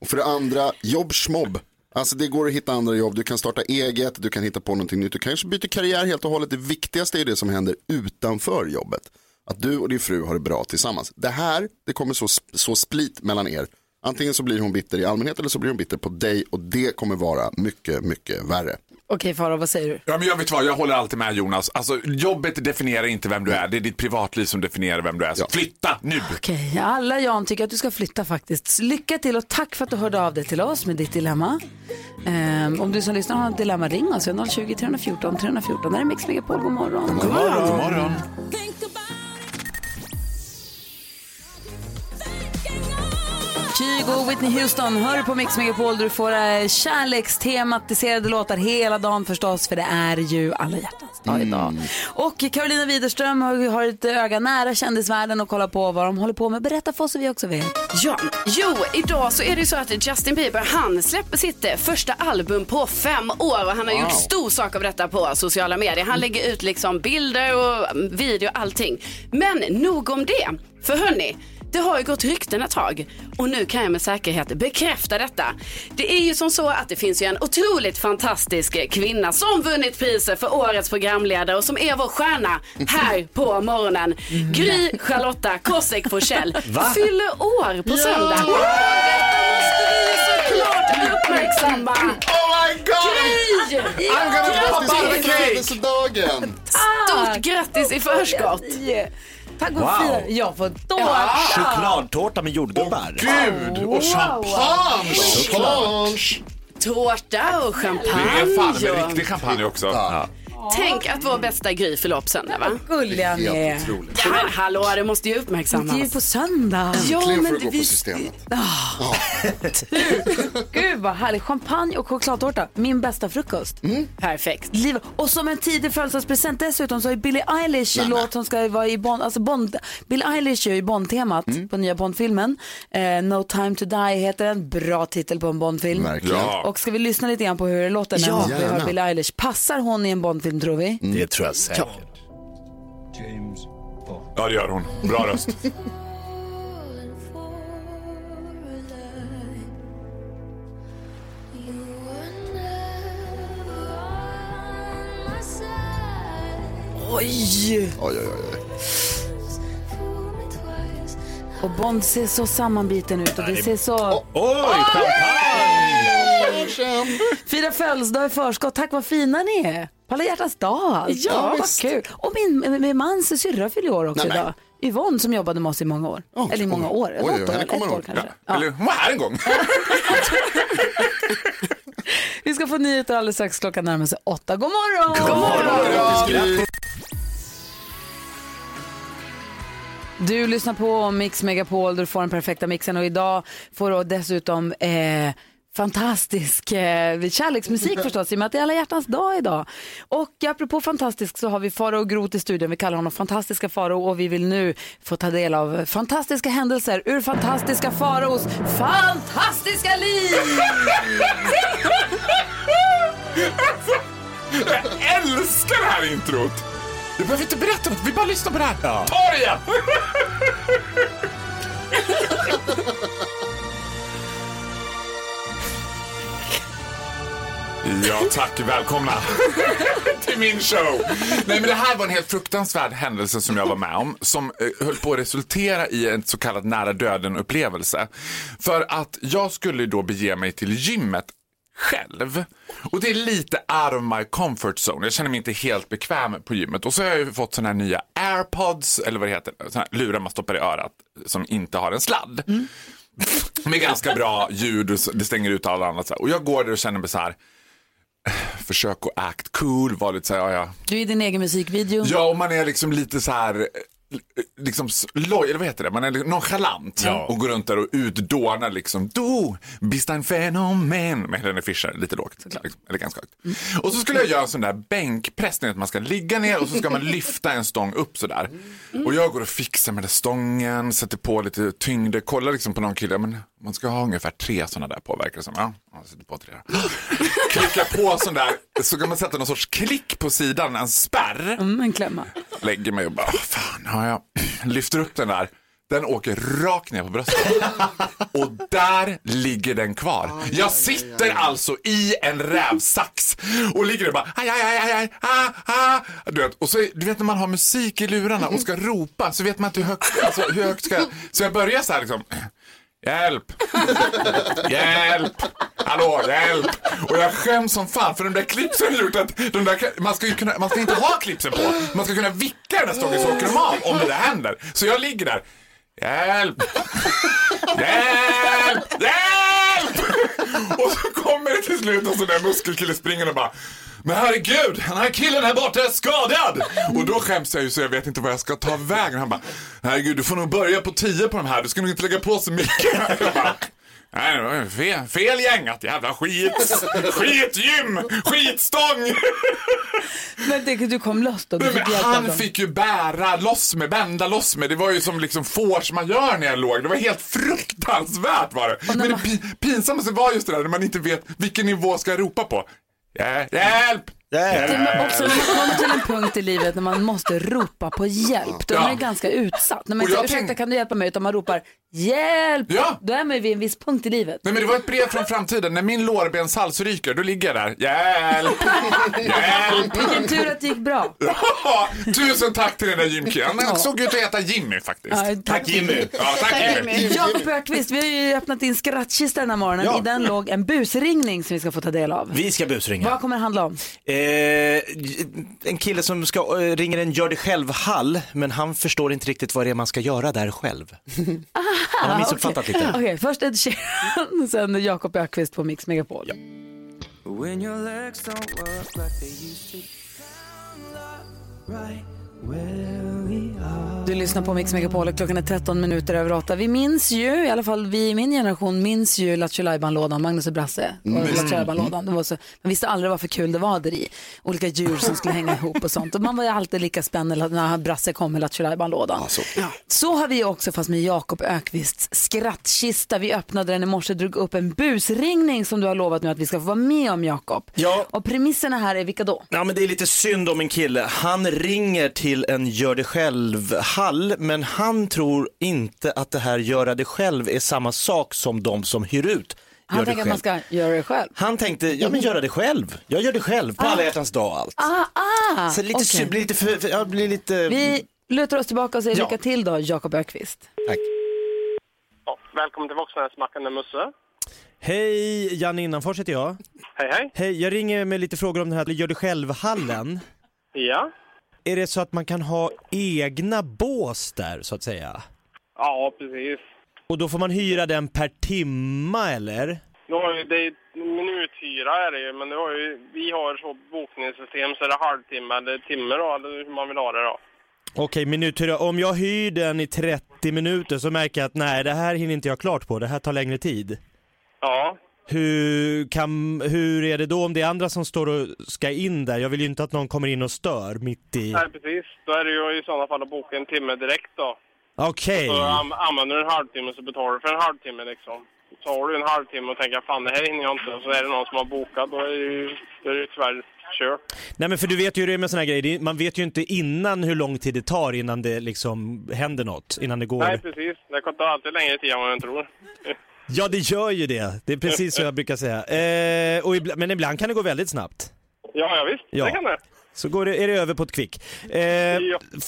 S2: Och för det andra, jobbsmobb. Alltså det går att hitta andra jobb, du kan starta eget, du kan hitta på någonting nytt, du kanske byter karriär helt och hållet. Det viktigaste är det som händer utanför jobbet. Att du och din fru har det bra tillsammans. Det här, det kommer så, så split mellan er. Antingen så blir hon bitter i allmänhet eller så blir hon bitter på dig och det kommer vara mycket, mycket värre.
S1: Okej Farao, vad säger du?
S7: Ja, men jag vet vad, jag håller alltid med Jonas. Alltså, jobbet definierar inte vem du är, det är ditt privatliv som definierar vem du är. Så
S2: Ja.
S7: flytta nu!
S1: Okej, alla Jan tycker att du ska flytta faktiskt. Lycka till och tack för att du hörde av dig till oss med ditt dilemma. Ehm, om du som lyssnar har ett dilemma, ring oss. 020 314 314. Det här är Mix Megapol. God morgon.
S7: God morgon! God morgon.
S1: Kygo och Whitney Houston hör på Mix Megapol. Du får eh, kärlekstematiserade låtar hela dagen förstås, för det är ju alla hjärtans dag idag. Och Carolina Widerström har, har ett öga nära kändisvärlden och kollar på vad de håller på med. Berätta för oss så vi också vet.
S4: Ja, jo, idag så är det ju så att Justin Bieber han släpper sitt eh, första album på fem år och han har gjort stor sak av detta på sociala medier. Han lägger ut liksom bilder och mm, video och allting. Men nog om det, för hörni, det har ju gått rykten ett tag och nu kan jag med säkerhet bekräfta detta. Det är ju som så att det finns ju en otroligt fantastisk kvinna som vunnit priser för årets programledare och som är vår stjärna här på morgonen. Gry Charlotta Kosek Forssell fyller år på söndag. Och Detta måste vi ju såklart uppmärksamma.
S2: Oh my god!
S4: Gry!
S2: I'm gonna
S4: Grattis!
S2: pop out the födelsedagen!
S4: Stort grattis i förskott.
S1: Yeah. Tack och
S3: Wow.
S1: firar jag får tårta.
S3: Chokladtårta med jordgubbar.
S7: Gud! Och champagne!
S2: Punch!
S4: Tårta och
S7: Det är fan
S4: champagne.
S7: med riktig champagne också. Ja.
S4: Tänk att vår bästa Gry fyller upp söndag va?
S1: Gulliga ni är.
S4: Ja, men hallå, det måste ju uppmärksammas.
S1: Det är ju på söndag.
S4: Ja, men
S2: får du gå
S4: vi-
S2: på systemet.
S1: Gud vad härligt. Champagne och chokladtårta, min bästa frukost.
S2: Mm.
S4: Perfekt.
S1: Liv. Och som en tidig födelsedagspresent dessutom så har ju Billie Eilish en låt som ska vara i Bond, alltså Bond, Billie Eilish är ju Bond-temat
S2: Mm.
S1: på nya Bond-filmen. Eh, no time to die heter den, bra titel på en Bond-film.
S2: Verkligen. Ja.
S1: Och ska vi lyssna lite grann på hur det låter när
S2: Ja,
S1: vi hör
S2: gärna.
S1: Billie Eilish. Passar hon i en Bond-film tror vi?
S2: Mm.
S3: Det tror jag säkert.
S7: Ja, det gör hon. Bra röst.
S1: Oj!
S2: Oj, oj, oj.
S1: Och Bond ser så sammanbiten ut och det ser så...
S3: Oj,
S1: Fira födelsedag i förskott. Tack vad fina ni är. På alla hjärtans dag. alltså.
S4: Ja,
S1: vad
S4: visst.
S1: kul. Och min, min mans syrra fyller år också
S2: Nej, men.
S1: idag. Yvonne som jobbade med oss i många år. Eller i många år.
S2: Oj, oj,
S1: Något år,
S2: henne
S1: ett
S2: kommer man
S1: år
S2: ihåg.
S1: kanske.
S7: Ja. Eller hon var här en gång.
S1: Vi ska få nyheter alldeles strax. Klockan närmar sig åtta. God morgon! Du lyssnar på Mix Megapol, du får den perfekta mixen och idag får du dessutom eh, fantastisk eh, kärleksmusik förstås i och med att det är alla hjärtans dag idag. Och apropå fantastisk så har vi Faro och Groth i studion, vi kallar honom fantastiska Faro och vi vill nu få ta del av fantastiska händelser ur fantastiska Faros fantastiska liv!
S7: Jag älskar det här introt! Du behöver inte berätta något, vi bara lyssnar på det här. Ta det igen! Ja, tack. Välkomna till min show. Nej, men det här var en helt fruktansvärd händelse som jag var med om som eh, höll på att resultera i en så kallad nära döden-upplevelse. För att jag skulle då bege mig till gymmet själv. Och det är lite out of my comfort zone. Jag känner mig inte helt bekväm på gymmet. Och så har jag ju fått såna här nya airpods, eller vad det heter, såna här lurar man stoppar i örat som inte har en sladd med ganska bra ljud och så- det stänger ut allt annat. så här. Och jag går där och känner mig så här, försök att act cool, var lite så här, ja, ja.
S1: Du är i din egen musikvideo.
S7: ja och man är liksom lite så här, eh, liksom s- loj, eller vad heter det, man är li- nonchalant och går runt där och utdånar liksom, du bist ein fenomen med Helene Fischer, lite lågt, liksom, eller ganska högt. Och så skulle jag göra en sån där bänkpress, ni vet, man ska ligga ner och så ska man lyfta en stång upp sådär. Och jag går och fixar med den stången, sätter på lite tyngder, kollar liksom på någon kille, men man ska ha ungefär tre sådana där på, verkar det som. Ja, jag sätter på tre. då. Klicka på sån där, så kan man sätta någon sorts klick på sidan, en spärr
S1: Mm, en klämma.
S7: lägger mig och bara, "Åh, fan har jag lyfter upp den där. Den åker rakt ner på bröstet. Och där ligger den kvar. Jag sitter alltså i en rävsax och ligger där och bara aj, aj, aj, aj, aj, ah, ah. Du vet, och så, du vet när man har musik i lurarna och ska ropa så vet man inte hur högt, alltså, hur högt ska jag. Så jag börjar så här liksom. Hjälp! Hjälp! Hallå, hjälp! Och jag skäms som fan för de där clipsen har gjort att de där, man, ska ju kunna, man ska inte ha clipsen på. Man ska kunna vicka den där stången så åker de av om det där händer. Så jag ligger där. Hjälp! Hjälp! Hjälp! Och så kommer det till slut en sån där muskelkille springande och bara men herregud, den här killen här borta är skadad! Och då skäms jag ju så jag vet inte vad jag ska ta vägen. Han bara, herregud du får nog börja på 10 på de här, du ska nog inte lägga på så mycket. Jag bara, Nej, det var fel, fel gängat, jävla skit, skitgym, skitstång.
S1: Men det, du kom loss då? Du
S7: Nej,
S1: fick
S7: men
S1: hjälp av
S7: han
S1: dem.
S7: fick ju bära loss med, bända loss med. Det var ju som liksom force man gör när jag låg. Det var helt fruktansvärt var det. Men det pi- pinsammaste var just det där när man inte vet vilken nivå ska jag ropa på. Hjälp! Hjälp!
S1: Det är också när man kommer till en punkt i livet när man måste ropa på hjälp. Då är man
S7: Ja.
S1: ju ganska utsatt. När man
S7: Och
S1: inte säger
S7: jag
S1: ursäkta
S7: tänk-
S1: kan du hjälpa mig? Utan man ropar hjälp.
S7: Ja.
S1: Då är man ju vid en viss punkt i livet.
S7: Nej men det var ett brev från framtiden. När min lårbenshals ryker, då ligger jag där. Hjälp! Hjälp!
S1: Vilken tur att det gick bra.
S7: Ja, Tusen tack till den där gymkillen. Han såg ut att heta Jimmy faktiskt.
S1: Ja, tack. Tack,
S7: Jimmy. Ja, tack, Jimmy.
S1: Jakob Ökvist, vi har ju öppnat din skrattkista den här morgonen. I den låg en busringning som vi ska få ta del av.
S3: Vi ska busringa.
S1: Vad kommer det handla om?
S3: Eh, en kille som ska, eh, ringer en gör det själv-hall, men han förstår inte riktigt vad det är man ska göra där själv. han har missuppfattat lite.
S1: Okej, först Ed Sheeran och sen Jakob Ökvist på Mix Megapol. Du lyssnar på Mix Megapol och klockan är 13 minuter över 8. Vi minns ju, i alla fall vi i min generation, minns ju Lattjo Lajban-lådan, Magnus och Brasse. och
S2: Mm.
S1: Lattjo Lajban-lådan. Det var så- Man visste aldrig vad för kul det var där i. Olika djur som skulle hänga ihop och sånt. Och man var ju alltid lika spänd när Brasse kom med Lattjo Lajban-lådan.
S8: så.
S1: har vi också fast med Jakob Ökvists skrattkista. Vi öppnade den i morse och drog upp en busringning som du har lovat nu att vi ska få vara med om Jakob.
S9: Ja.
S1: Och premisserna här är vilka då?
S9: Ja men det är lite synd om en kille. Han ringer till en gör det själv-hall men han tror inte att det här göra det själv är samma sak som de som hyr ut.
S1: Han
S9: gör det
S1: tänker att man
S9: själv.
S1: ska göra det själv.
S9: Han tänkte, ja men göra det själv. Jag gör det själv på alla hjärtans dag och allt.
S1: Ah, ah!
S9: Så lite,
S1: okej.
S9: sy- blir lite, för, för, jag blir lite...
S1: Vi lutar oss tillbaka och säger
S9: Ja.
S1: lycka till då, Jakob Ökvist.
S9: Tack.
S10: Ja, välkommen till Voxnäsmackande Musse.
S3: Hej, Janne Innanfors heter jag.
S10: Hej, hej.
S3: Hej, jag ringer med lite frågor om den här gör det själv-hallen.
S10: Ja.
S3: Är det så att man kan ha egna bås där, så att säga?
S10: Ja, precis.
S3: Och då får man hyra den per timma, eller?
S10: Nu har ju det, minuthyra är det ju, men det har ju, vi har så bokningssystem så är det halvtimme eller timme då, eller hur man vill ha det då.
S3: Okej, minuthyra. Om jag hyr den i 30 minuter så märker jag att nej, det här hinner inte jag klart på. Det här tar längre tid.
S10: Ja.
S3: Hur, kan, hur är det då om det är andra som står och ska in där? Jag vill ju inte att någon kommer in och stör mitt i...
S10: Nej, precis. Då är det ju i sådana fall att boka en timme direkt då.
S3: Okej.
S10: Så an, använder du en halvtimme så betalar du för en halvtimme liksom. Så har du en halvtimme och tänker fan det här hinner jag inte och så är det någon som har bokat då är det ju, då är det ju tyvärr kört.
S3: Nej men för du vet ju hur det är med såna här grejer, Det är- man vet ju inte innan hur lång tid det tar innan det liksom händer något, innan det går.
S10: Nej, precis. Det kan ta alltid längre tid än vad man tror.
S3: Ja det gör ju det, det är precis så jag brukar säga. Eh, och ibla- men ibland kan det gå väldigt snabbt.
S10: Ja, ja visst.
S3: Ja.
S10: Det kan det.
S3: Så går det, är det över på ett kvick. Eh,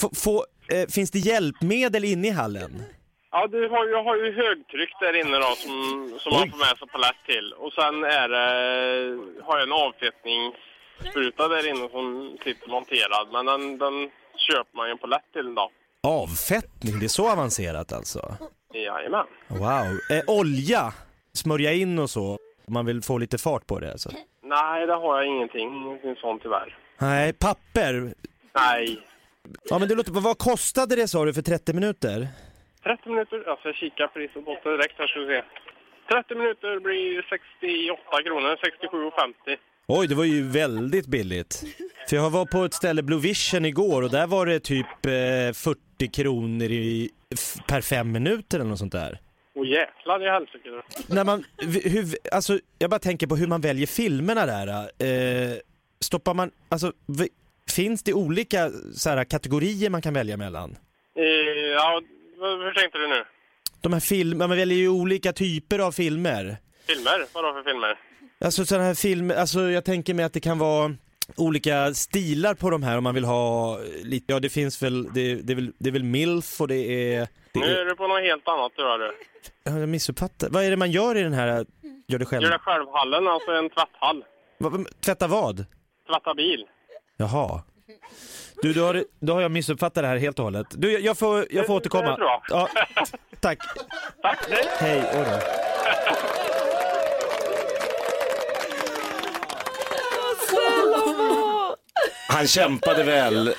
S3: få- få- eh, finns det hjälpmedel inne i hallen?
S10: Ja, du har, ju- jag har ju högtryck där inne då som, som man får med sig palett till. Och sen är det, har jag en avfettningsspruta där inne som sitter monterad. Men den, den köper man ju en palett till då.
S3: Avfettning, det är så avancerat alltså?
S10: Jajamän.
S3: Wow. Eh, olja, smörja in och så, om man vill få lite fart på det alltså.
S10: Nej, det har jag ingenting. Ingenting sånt tyvärr.
S3: Nej, papper.
S10: Nej.
S3: Ja men det låter, vad kostade det sa du för 30 minuter?
S10: 30 minuter. Alltså jag kikar priset på det direkt här ska vi se. 30 minuter blir 68 kronor, 67,50.
S3: Oj, det var ju väldigt billigt. För jag var på ett ställe, Blue Vision, igår och där var det typ eh, 40 kronor i, f- per fem minuter eller något sånt där.
S10: Åh jäklar i helsike.
S3: När man, v- hur, alltså, jag bara tänker på hur man väljer filmerna där. Eh, stoppar man, alltså, v, finns det olika så här, kategorier man kan välja mellan?
S10: Eh, Ja, hur hur tänkte du nu?
S3: De här filmerna, man väljer ju olika typer av filmer.
S10: Filmer? Vadå för filmer?
S3: Alltså sådana här filmer, alltså jag tänker mig att det kan vara olika stilar på de här om man vill ha eh, lite, ja det finns väl, det, det, är, väl, det är väl milf och det är... Det
S10: Nu
S3: är
S10: är du på något helt annat du. hör du. Mm.
S3: ja, jag missuppfattar. Vad är det man gör i den här eh, gör det själv?
S10: Gör det själv-hallen, alltså en tvätthall.
S3: Va- va- Tvätta vad?
S10: Tvätta bil.
S3: Jaha. Du, då har, då har jag missuppfattat det här helt och hållet. Du, jag- jag får, jag får återkomma.
S10: det tror jag.
S3: Ja, tack.
S10: Tack,
S3: Hej, oj då.
S9: Han kämpade väl.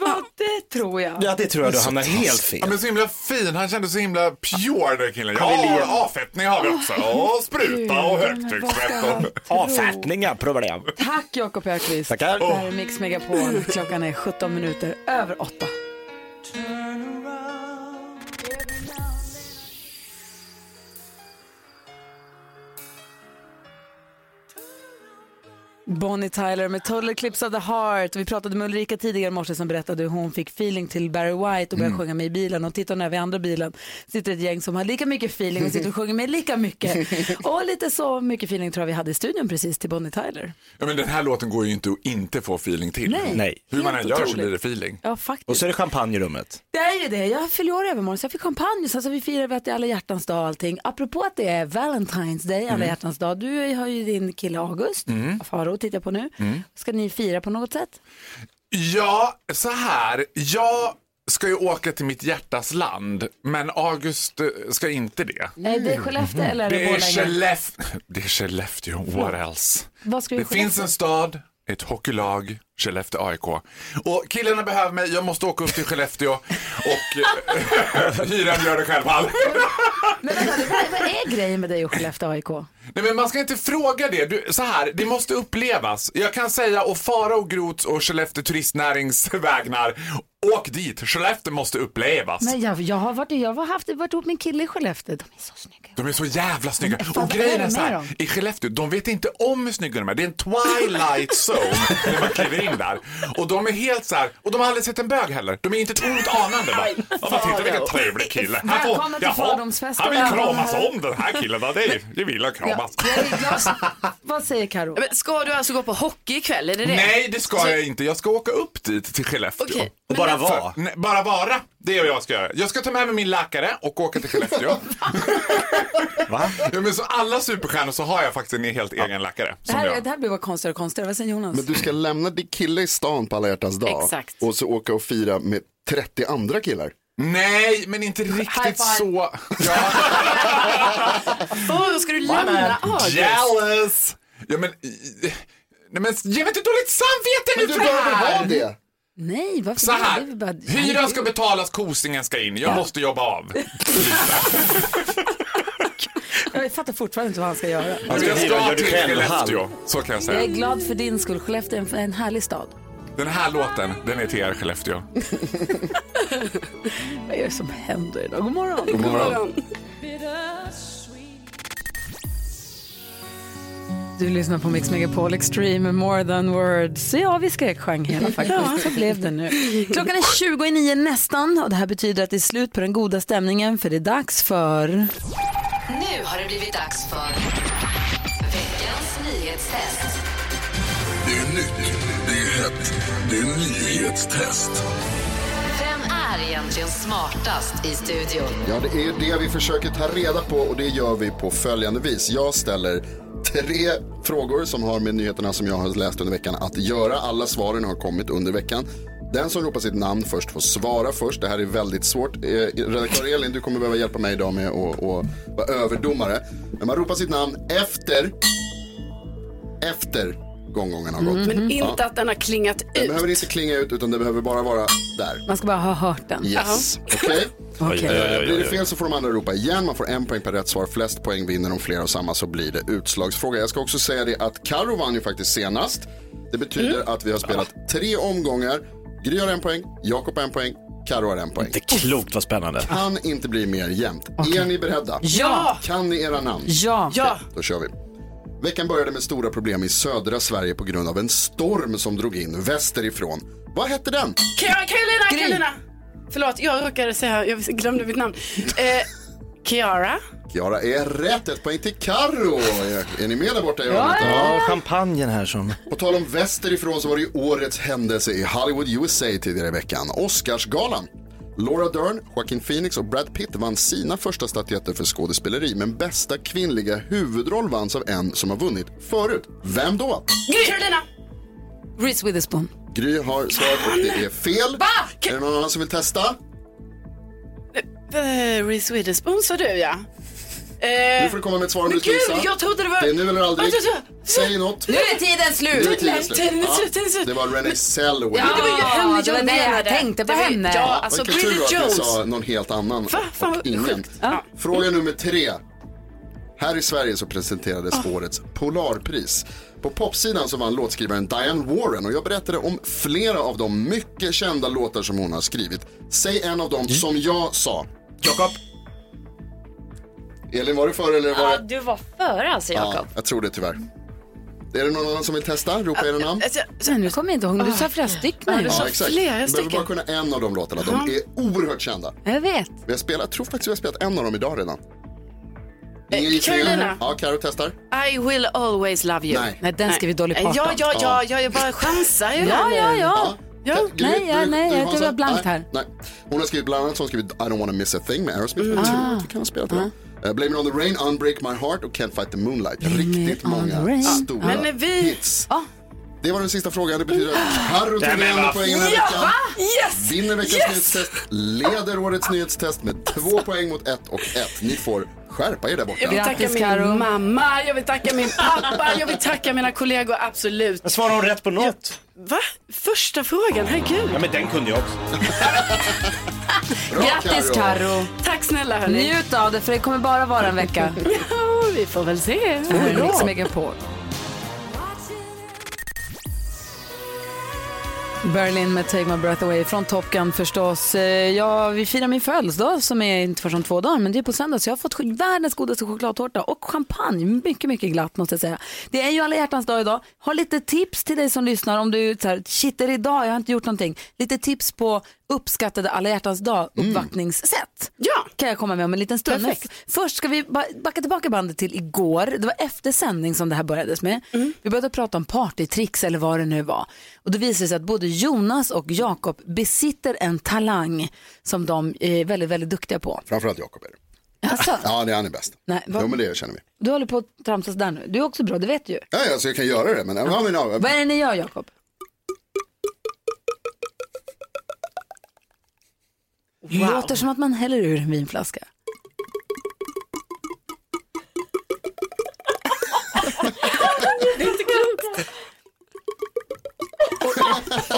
S1: Va, det tror jag.
S9: Ja det tror jag du
S7: Så
S9: hamnar
S7: tass-
S9: helt fel.
S7: Ja, men så himla fin, han kände så himla pure den killen.
S9: Han ville ge-
S7: Ja, avfettning har vi också.
S1: Ah,
S7: Och spruta och högtrycksvätt. och-
S9: Avfettningar, problem.
S1: Tack Jakob Ökvist.
S9: Tackar.
S1: Det här är Mix Megapol. Klockan är 17 minuter över 8. Bonnie Tyler med Total Eclipse of the Heart. Vi pratade med Ulrika tidigare i morse som berättade hur hon fick feeling till Barry White och började sjunga med i bilen. Och tittar hon över i andra bilen sitter ett gäng som har lika mycket feeling och sitter och sjunger med lika mycket. Och lite så mycket feeling tror jag vi hade i studion precis till Bonnie Tyler.
S7: Ja, men den här låten går ju inte att inte få feeling till.
S1: Nej. Nej.
S7: Hur man
S1: Helt
S7: än gör så
S1: otroligt.
S7: blir det feeling.
S1: Ja, faktiskt.
S9: Och så är det champagne i rummet.
S1: Det är ju det. Jag fyller år i övermorgon så jag fick champagne. Sen så alltså, vi firar vi att det är alla hjärtans dag och allting. Apropå att det är Valentine's Day, alla
S11: Mm.
S1: hjärtans dag. Du har ju din kille August,
S7: Mm.
S1: Faro tittar jag på nu.
S7: Mm.
S1: Ska ni fira på något sätt?
S7: Ja, så här. Jag ska ju åka till mitt hjärtas land, men August eh, ska inte det.
S1: Är det Skellefteå eller är det
S7: Mm. Det är
S1: Borlänge?
S7: Skellefteå. Det är Skellefteå, what else?
S1: Vad ska vi
S7: Det
S1: Skellefteå?
S7: finns en stad ett hockeylag, Skellefteå AIK. Och killarna behöver mig, jag måste åka upp till Skellefteå och eh, hyran gör det själv. Hall.
S1: Vad är grejen med dig och Skellefteå AIK?
S7: Nej men man ska inte fråga det. Du, så här, det måste upplevas. Jag kan säga och fara och Grots och Skellefteå turistnärings vägnar. Åk dit, Skellefteå måste upplevas.
S1: Men jag, jag har varit, jag har haft, varit ihop med en kille i Skellefteå. De är så snygga.
S7: De är så jävla snygga.
S1: Fan,
S7: och
S1: vad är
S7: grejen
S1: det
S7: är så
S1: med
S7: här,
S1: dem?
S7: i Skellefteå, de vet inte om hur snygga de är. Det är en twilight zone när man kliver in där. Och de är helt så här, och de har aldrig sett en bög heller. De är inte ett ont anande. bara. Ja, men titta vilken trevlig kille. Här får-
S1: Välkommen till
S7: jaha,
S1: fördomsfesten.
S7: Han vill kramas om den här killen. Ja, Det är, det vill han kramas.
S1: Vad säger Karo?
S4: Men ska du alltså gå på hockey ikväll? Är det det?
S7: Nej, det ska
S4: Så-
S7: jag inte. Jag ska åka upp dit till Skellefteå.
S4: Okej,
S7: Och bara vara? Nej, bara vara. Det är vad jag ska göra. Jag ska ta med mig min läkare och åka till Skellefteå. Va? Ja, men så alla superstjärnor så har jag faktiskt en helt egen läkare.
S1: Det
S7: Som
S1: här,
S7: jag.
S1: det här blir bara konstigare och konstigare. Vad säger Jonas?
S2: Men du ska lämna din kille i stan på alla hjärtans dag
S1: Exakt.
S2: och så åka och fira med 30 andra killar.
S7: Nej, men inte riktigt så.
S4: Varför ska du lämna August?
S7: Jealous! Ja, men... eh, Nej, men ge mig inte dåligt samvete nu
S1: Men du
S7: för det
S1: behöver
S7: här!
S1: ha det. Nej, varför
S7: Så
S1: det? Det är väl bara-
S7: här, hyran ska betalas, kosingen ska in. Jag måste jobba av.
S1: Jag fattar fortfarande inte vad han ska göra.
S7: Jag
S3: ska hyra, gör
S7: ska
S3: du
S7: till
S3: själv,
S7: Skellefteå, så kan jag
S1: Jag är
S7: säga.
S1: glad för din skull. Skellefteå är en- en härlig stad.
S7: Den här låten, den är till er Skellefteå.
S1: Vad är det som händer idag? God morgon.
S7: God morgon.
S1: Du lyssnar på Mix Megapol Extreme, More than words. Ja, vi skrek hela faktiskt.
S12: Ja.
S1: Så blev det nu. Klockan är 20 i nio nästan och det här betyder att det är slut på den goda stämningen för det är dags för...
S13: Nu har det blivit dags för veckans nyhetstest.
S14: Det är nytt, det är hett, det är nyhetstest.
S13: Vem är egentligen smartast i studion?
S2: Ja, det är det vi försöker ta reda på och det gör vi på följande vis. Jag ställer tre frågor som har med nyheterna som jag har läst under veckan att göra. Alla svaren har kommit under veckan. Den som ropar sitt namn först får svara först. Det här är väldigt svårt. Eh, Redaktör Elin, du kommer behöva hjälpa mig idag med att att vara överdomare. Men man ropar sitt namn efter, efter gånggången har gått.
S4: Mm, Men
S2: Ja.
S4: inte att den har klingat ut.
S2: Den behöver inte klinga ut utan det behöver bara vara där.
S1: Man ska bara ha hört den.
S2: Yes, okej.
S1: Okej. Oj, oj, oj, oj, oj.
S2: Blir det fel så får de andra ropa igen. Man får en poäng per rätt svar. Flest poäng vinner om flera och samma så blir det utslagsfråga. Jag ska också säga det att Karo vann ju faktiskt senast. Det betyder
S1: Mm.
S2: att vi har spelat tre omgångar. Gry har en poäng, Jakob har en poäng, Karo har en poäng. Det
S3: är klokt vad spännande.
S2: Kan inte bli mer jämnt. Är ni beredda?
S1: Ja!
S2: Kan ni era namn?
S1: Ja.
S2: ja! Då kör vi. Veckan började med stora problem i södra Sverige på grund av en storm som drog in västerifrån. Vad hette den?
S4: Carolina, ah, Carolina, Carolina! Förlåt, jag råkade säga, jag glömde mitt namn. Eh, Kiara.
S2: Klara är rätt. Ett poäng till Karo. Är- Är ni med där borta i
S3: Ja,
S2: hörnet?
S3: champagnen här som...
S2: På tal om västerifrån så var det ju årets händelse i Hollywood USA tidigare i veckan. Oscarsgalan. Laura Dern, Joaquin Phoenix och Brad Pitt vann sina första statyetter för skådespeleri men bästa kvinnliga huvudroll vanns av en som har vunnit förut. Vem då?
S4: Gry. Carolina.
S1: Reese Witherspoon.
S2: Gry har svarat och det är fel. Är det någon annan som vill testa?
S4: Eh, Reese Witherspoon sa du ja. Eh,
S2: Nu får du komma med ett svar om
S4: men
S2: du ska
S4: gud,
S2: gissa.
S4: jag trodde det var...
S2: Det är nu eller aldrig.
S4: Vänta, vänta.
S2: Säg något.
S4: Nu är tiden slut.
S2: Nu är tiden slut.
S4: Tiden är slut,
S2: Ja,
S4: tiden är slut.
S2: Det var Renée Zellweger.
S4: Men det var ju henne
S1: det var
S4: jag
S1: det jag
S4: menade.
S1: tänkte på
S4: Det var-
S1: henne.
S4: Ja, alltså
S2: Vilken tur
S4: Bridget
S2: att jag
S4: Jones.
S2: sa någon helt annan
S4: Fan,
S2: och ingen. Fråga nummer tre. Här i Sverige så presenterades
S4: Ah.
S2: årets Polarpris. På popsidan så vann låtskrivaren Diane Warren och jag berättade om flera av de mycket kända låtar som hon har skrivit. Säg en av dem
S4: Mm.
S2: som jag sa. Jakob. Elin, var du före eller var
S15: Ja,
S2: det?
S15: du var före alltså Jakob.
S2: Ja, jag tror det tyvärr. Är det någon annan som vill testa? Ropa era namn.
S1: Men Alltså, nu kommer jag inte ihåg. Du sa flera stycken.
S2: Ja, exakt. Du behöver bara kunna en av de låtarna. De
S1: Ja.
S2: är oerhört kända.
S1: Jag vet.
S2: Vi har spelat, jag tror faktiskt vi har spelat en av dem idag redan.
S4: Eh,
S2: Ingen gissning?
S4: Carolina.
S2: Ja, Carro testar.
S4: I will always love you.
S2: Nej. Nej,
S1: den ska vi Dolly
S4: Eh,
S1: Parton.
S4: Ja, ja, ja,
S2: Ja.
S4: ja, jag bara chansar ju.
S1: Ja, ja, ja.
S4: ja.
S2: Gry,
S1: Nej, ja,
S2: du-
S1: nej,
S2: du
S1: jag-
S2: har
S1: det
S2: så-
S1: var blankt
S2: nej,
S1: här.
S2: Nej. Hon har skrivit bland annat så har hon skrivit I don't wanna miss a thing med Aerosmith.
S1: Mm.
S2: Jag tror
S1: Ah,
S2: att vi kan ha spelat den. Eh, Blame it on the rain, Unbreak my heart och Can't fight the moonlight. Riktigt många stora.
S4: Men när vi...
S1: Ja.
S2: Det var den sista frågan. Det betyder att Carro tog
S4: Ja, men
S2: med alla
S4: vad-
S2: poängen den här
S4: Ja,
S2: veckan.
S4: va? Yes!
S2: Vinner veckans
S4: Yes!
S2: nyhetstest, leder årets nyhetstest med två poäng mot ett och ett. Ni får Skärpa er där borta.
S4: Jag vill tacka min mamma, jag vill tacka min pappa, jag vill tacka mina kollegor, absolut.
S3: Men svarar hon rätt på något?
S4: Va? Första frågan, herregud.
S3: Ja men den kunde jag också.
S1: Grattis Karo.
S4: Tack snälla hörni.
S1: Njut av det för det kommer bara vara en vecka.
S4: ja, vi får väl se.
S1: Det här är Mix Megapol. Berlin med Take My Breath Away från Top Gun förstås. Eh, Ja, vi firar min födelsedag som är inte förrän om två dagar, men det är på söndag så jag har fått sk- världens godaste chokladtårta och champagne. Mycket, mycket glatt måste jag säga. Det är ju alla hjärtans dag idag. Har lite tips till dig som lyssnar om du så här, shit är det idag, jag har inte gjort någonting. Lite tips på uppskattade alla hjärtans dag uppvaktningssätt.
S4: Ja.
S1: Kan jag komma med om en liten stund. Men
S4: Perfekt.
S1: f- Först ska vi ba- backa tillbaka bandet till igår. Det var efter sändning som det här börjades med. Vi började prata om partytricks eller vad det nu var. Och då visade det sig att både Jonas och Jakob besitter en talang som de är väldigt, väldigt duktiga på.
S2: Framförallt Jakob är det.
S1: Alltså?
S2: Ja, det är han är bäst.
S1: Nej, vad-
S2: Jo, men det känner vi.
S1: Du håller på att tramsa där nu. Du är också bra, det vet du ju.
S2: Ja, alltså, jag kan göra det, men... Ja, men ja.
S1: Vad är det ni gör Jakob? Det låter som att man häller ur en vinflaska.
S4: Det är inte klokt.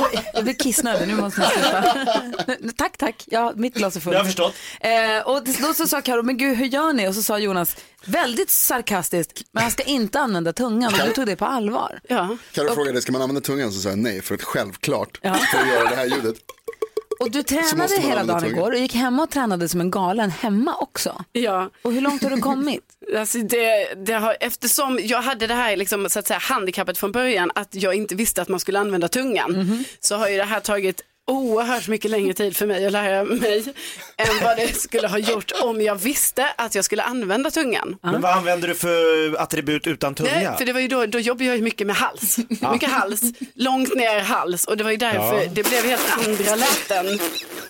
S1: Oj, jag blir kissnödig, nu måste jag sluta. tack, tack. Ja, mitt glas är fullt.
S3: Jag har förstått.
S1: Eh, och då så sa Karo, men gud hur gör ni? Och så sa Jonas, väldigt sarkastiskt, men han ska inte använda tungan. Och du tog det på allvar.
S4: Ja.
S2: Carro frågade, ska man använda tungan? Så sa jag nej, för att självklart. För att göra det här ljudet.
S1: Och du
S2: Så
S1: tränade
S2: måste man
S1: hela
S2: använda
S1: dagen
S2: tungan.
S1: igår och gick hemma och tränade som en galen hemma också.
S4: Ja.
S1: Och hur långt har du kommit?
S4: Alltså det, det har, eftersom jag hade det här liksom, så att säga, handikappet från början, att jag inte visste att man skulle använda tungan,
S1: Mhm.
S4: så har ju det här tagit oerhört mycket längre tid för mig att lära mig än vad det skulle ha gjort om jag visste att jag skulle använda tungan.
S1: Ah.
S3: Men vad använder du för attribut utan tunga?
S4: Nej, för det var ju då, då jobbade jag ju mycket med hals. Mycket hals, långt ner hals och det var ju därför
S3: Ja.
S4: det blev helt andra läten.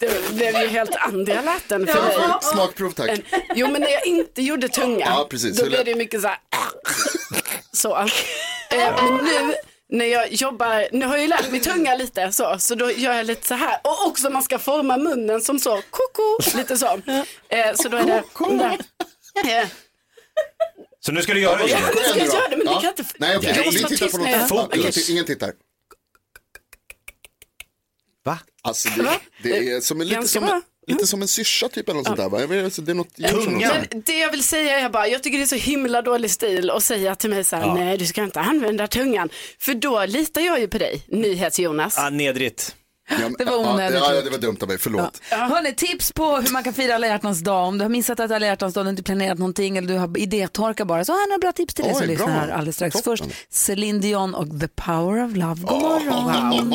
S4: Det blev ju helt andra läten för
S2: Ja.
S4: mig.
S2: Smakprov, tack.
S4: Än- Jo men när jag inte gjorde tunga,
S2: Ja, precis.
S4: då
S2: Hur
S4: blev
S2: lät-
S4: det ju mycket så här. så. Eh, Men nu när jag jobbar, nu har jag ju lärt mig tunga lite så, så då gör jag lite så här. Och också man ska forma munnen som så, koko, lite så. Eh, Så då är det, Eh,
S3: Så nu ska du göra det Jonas.
S4: nu ska jag göra det men ni kan inte,
S2: Nej, okej,
S4: jag måste
S2: vi
S4: vara
S2: tittar
S4: tyst
S2: på
S4: när jag-
S2: något annat.
S4: Okej.
S2: Ingen t- Ingen tittar.
S3: Va?
S2: Alltså, det, det är som en, lite,
S4: Ganska
S2: som,
S4: bra.
S2: lite som en syrsa typ eller något sånt där. Va? Jag vet, alltså, det är något djur som-
S4: Men det jag vill säga är bara, jag tycker det är så himla dålig stil att säga till mig så här,
S3: Ja.
S4: nej du ska inte använda tungan. För då litar jag ju på dig, NyhetsJonas.
S3: Ah, nedrigt.
S1: Det var onödigt.
S2: Ja, ja, det var dumt av mig, förlåt.
S1: Hörrni, tips på hur man kan fira alla hjärtans dag. Om du har missat att alla hjärtans dag, du har inte planerat någonting eller du har idétorka bara, så har jag några bra tips till dig
S2: Oj,
S1: som
S2: bra.
S1: lyssnar här alldeles strax.
S2: Toppen.
S1: Först Celine Dion och The Power of Love. God morgon!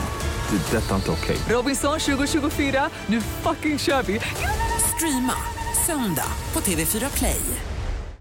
S16: Det är detta inte okej.
S17: Robinson 2024, nu fucking kör vi! Streama söndag på TV4 Play.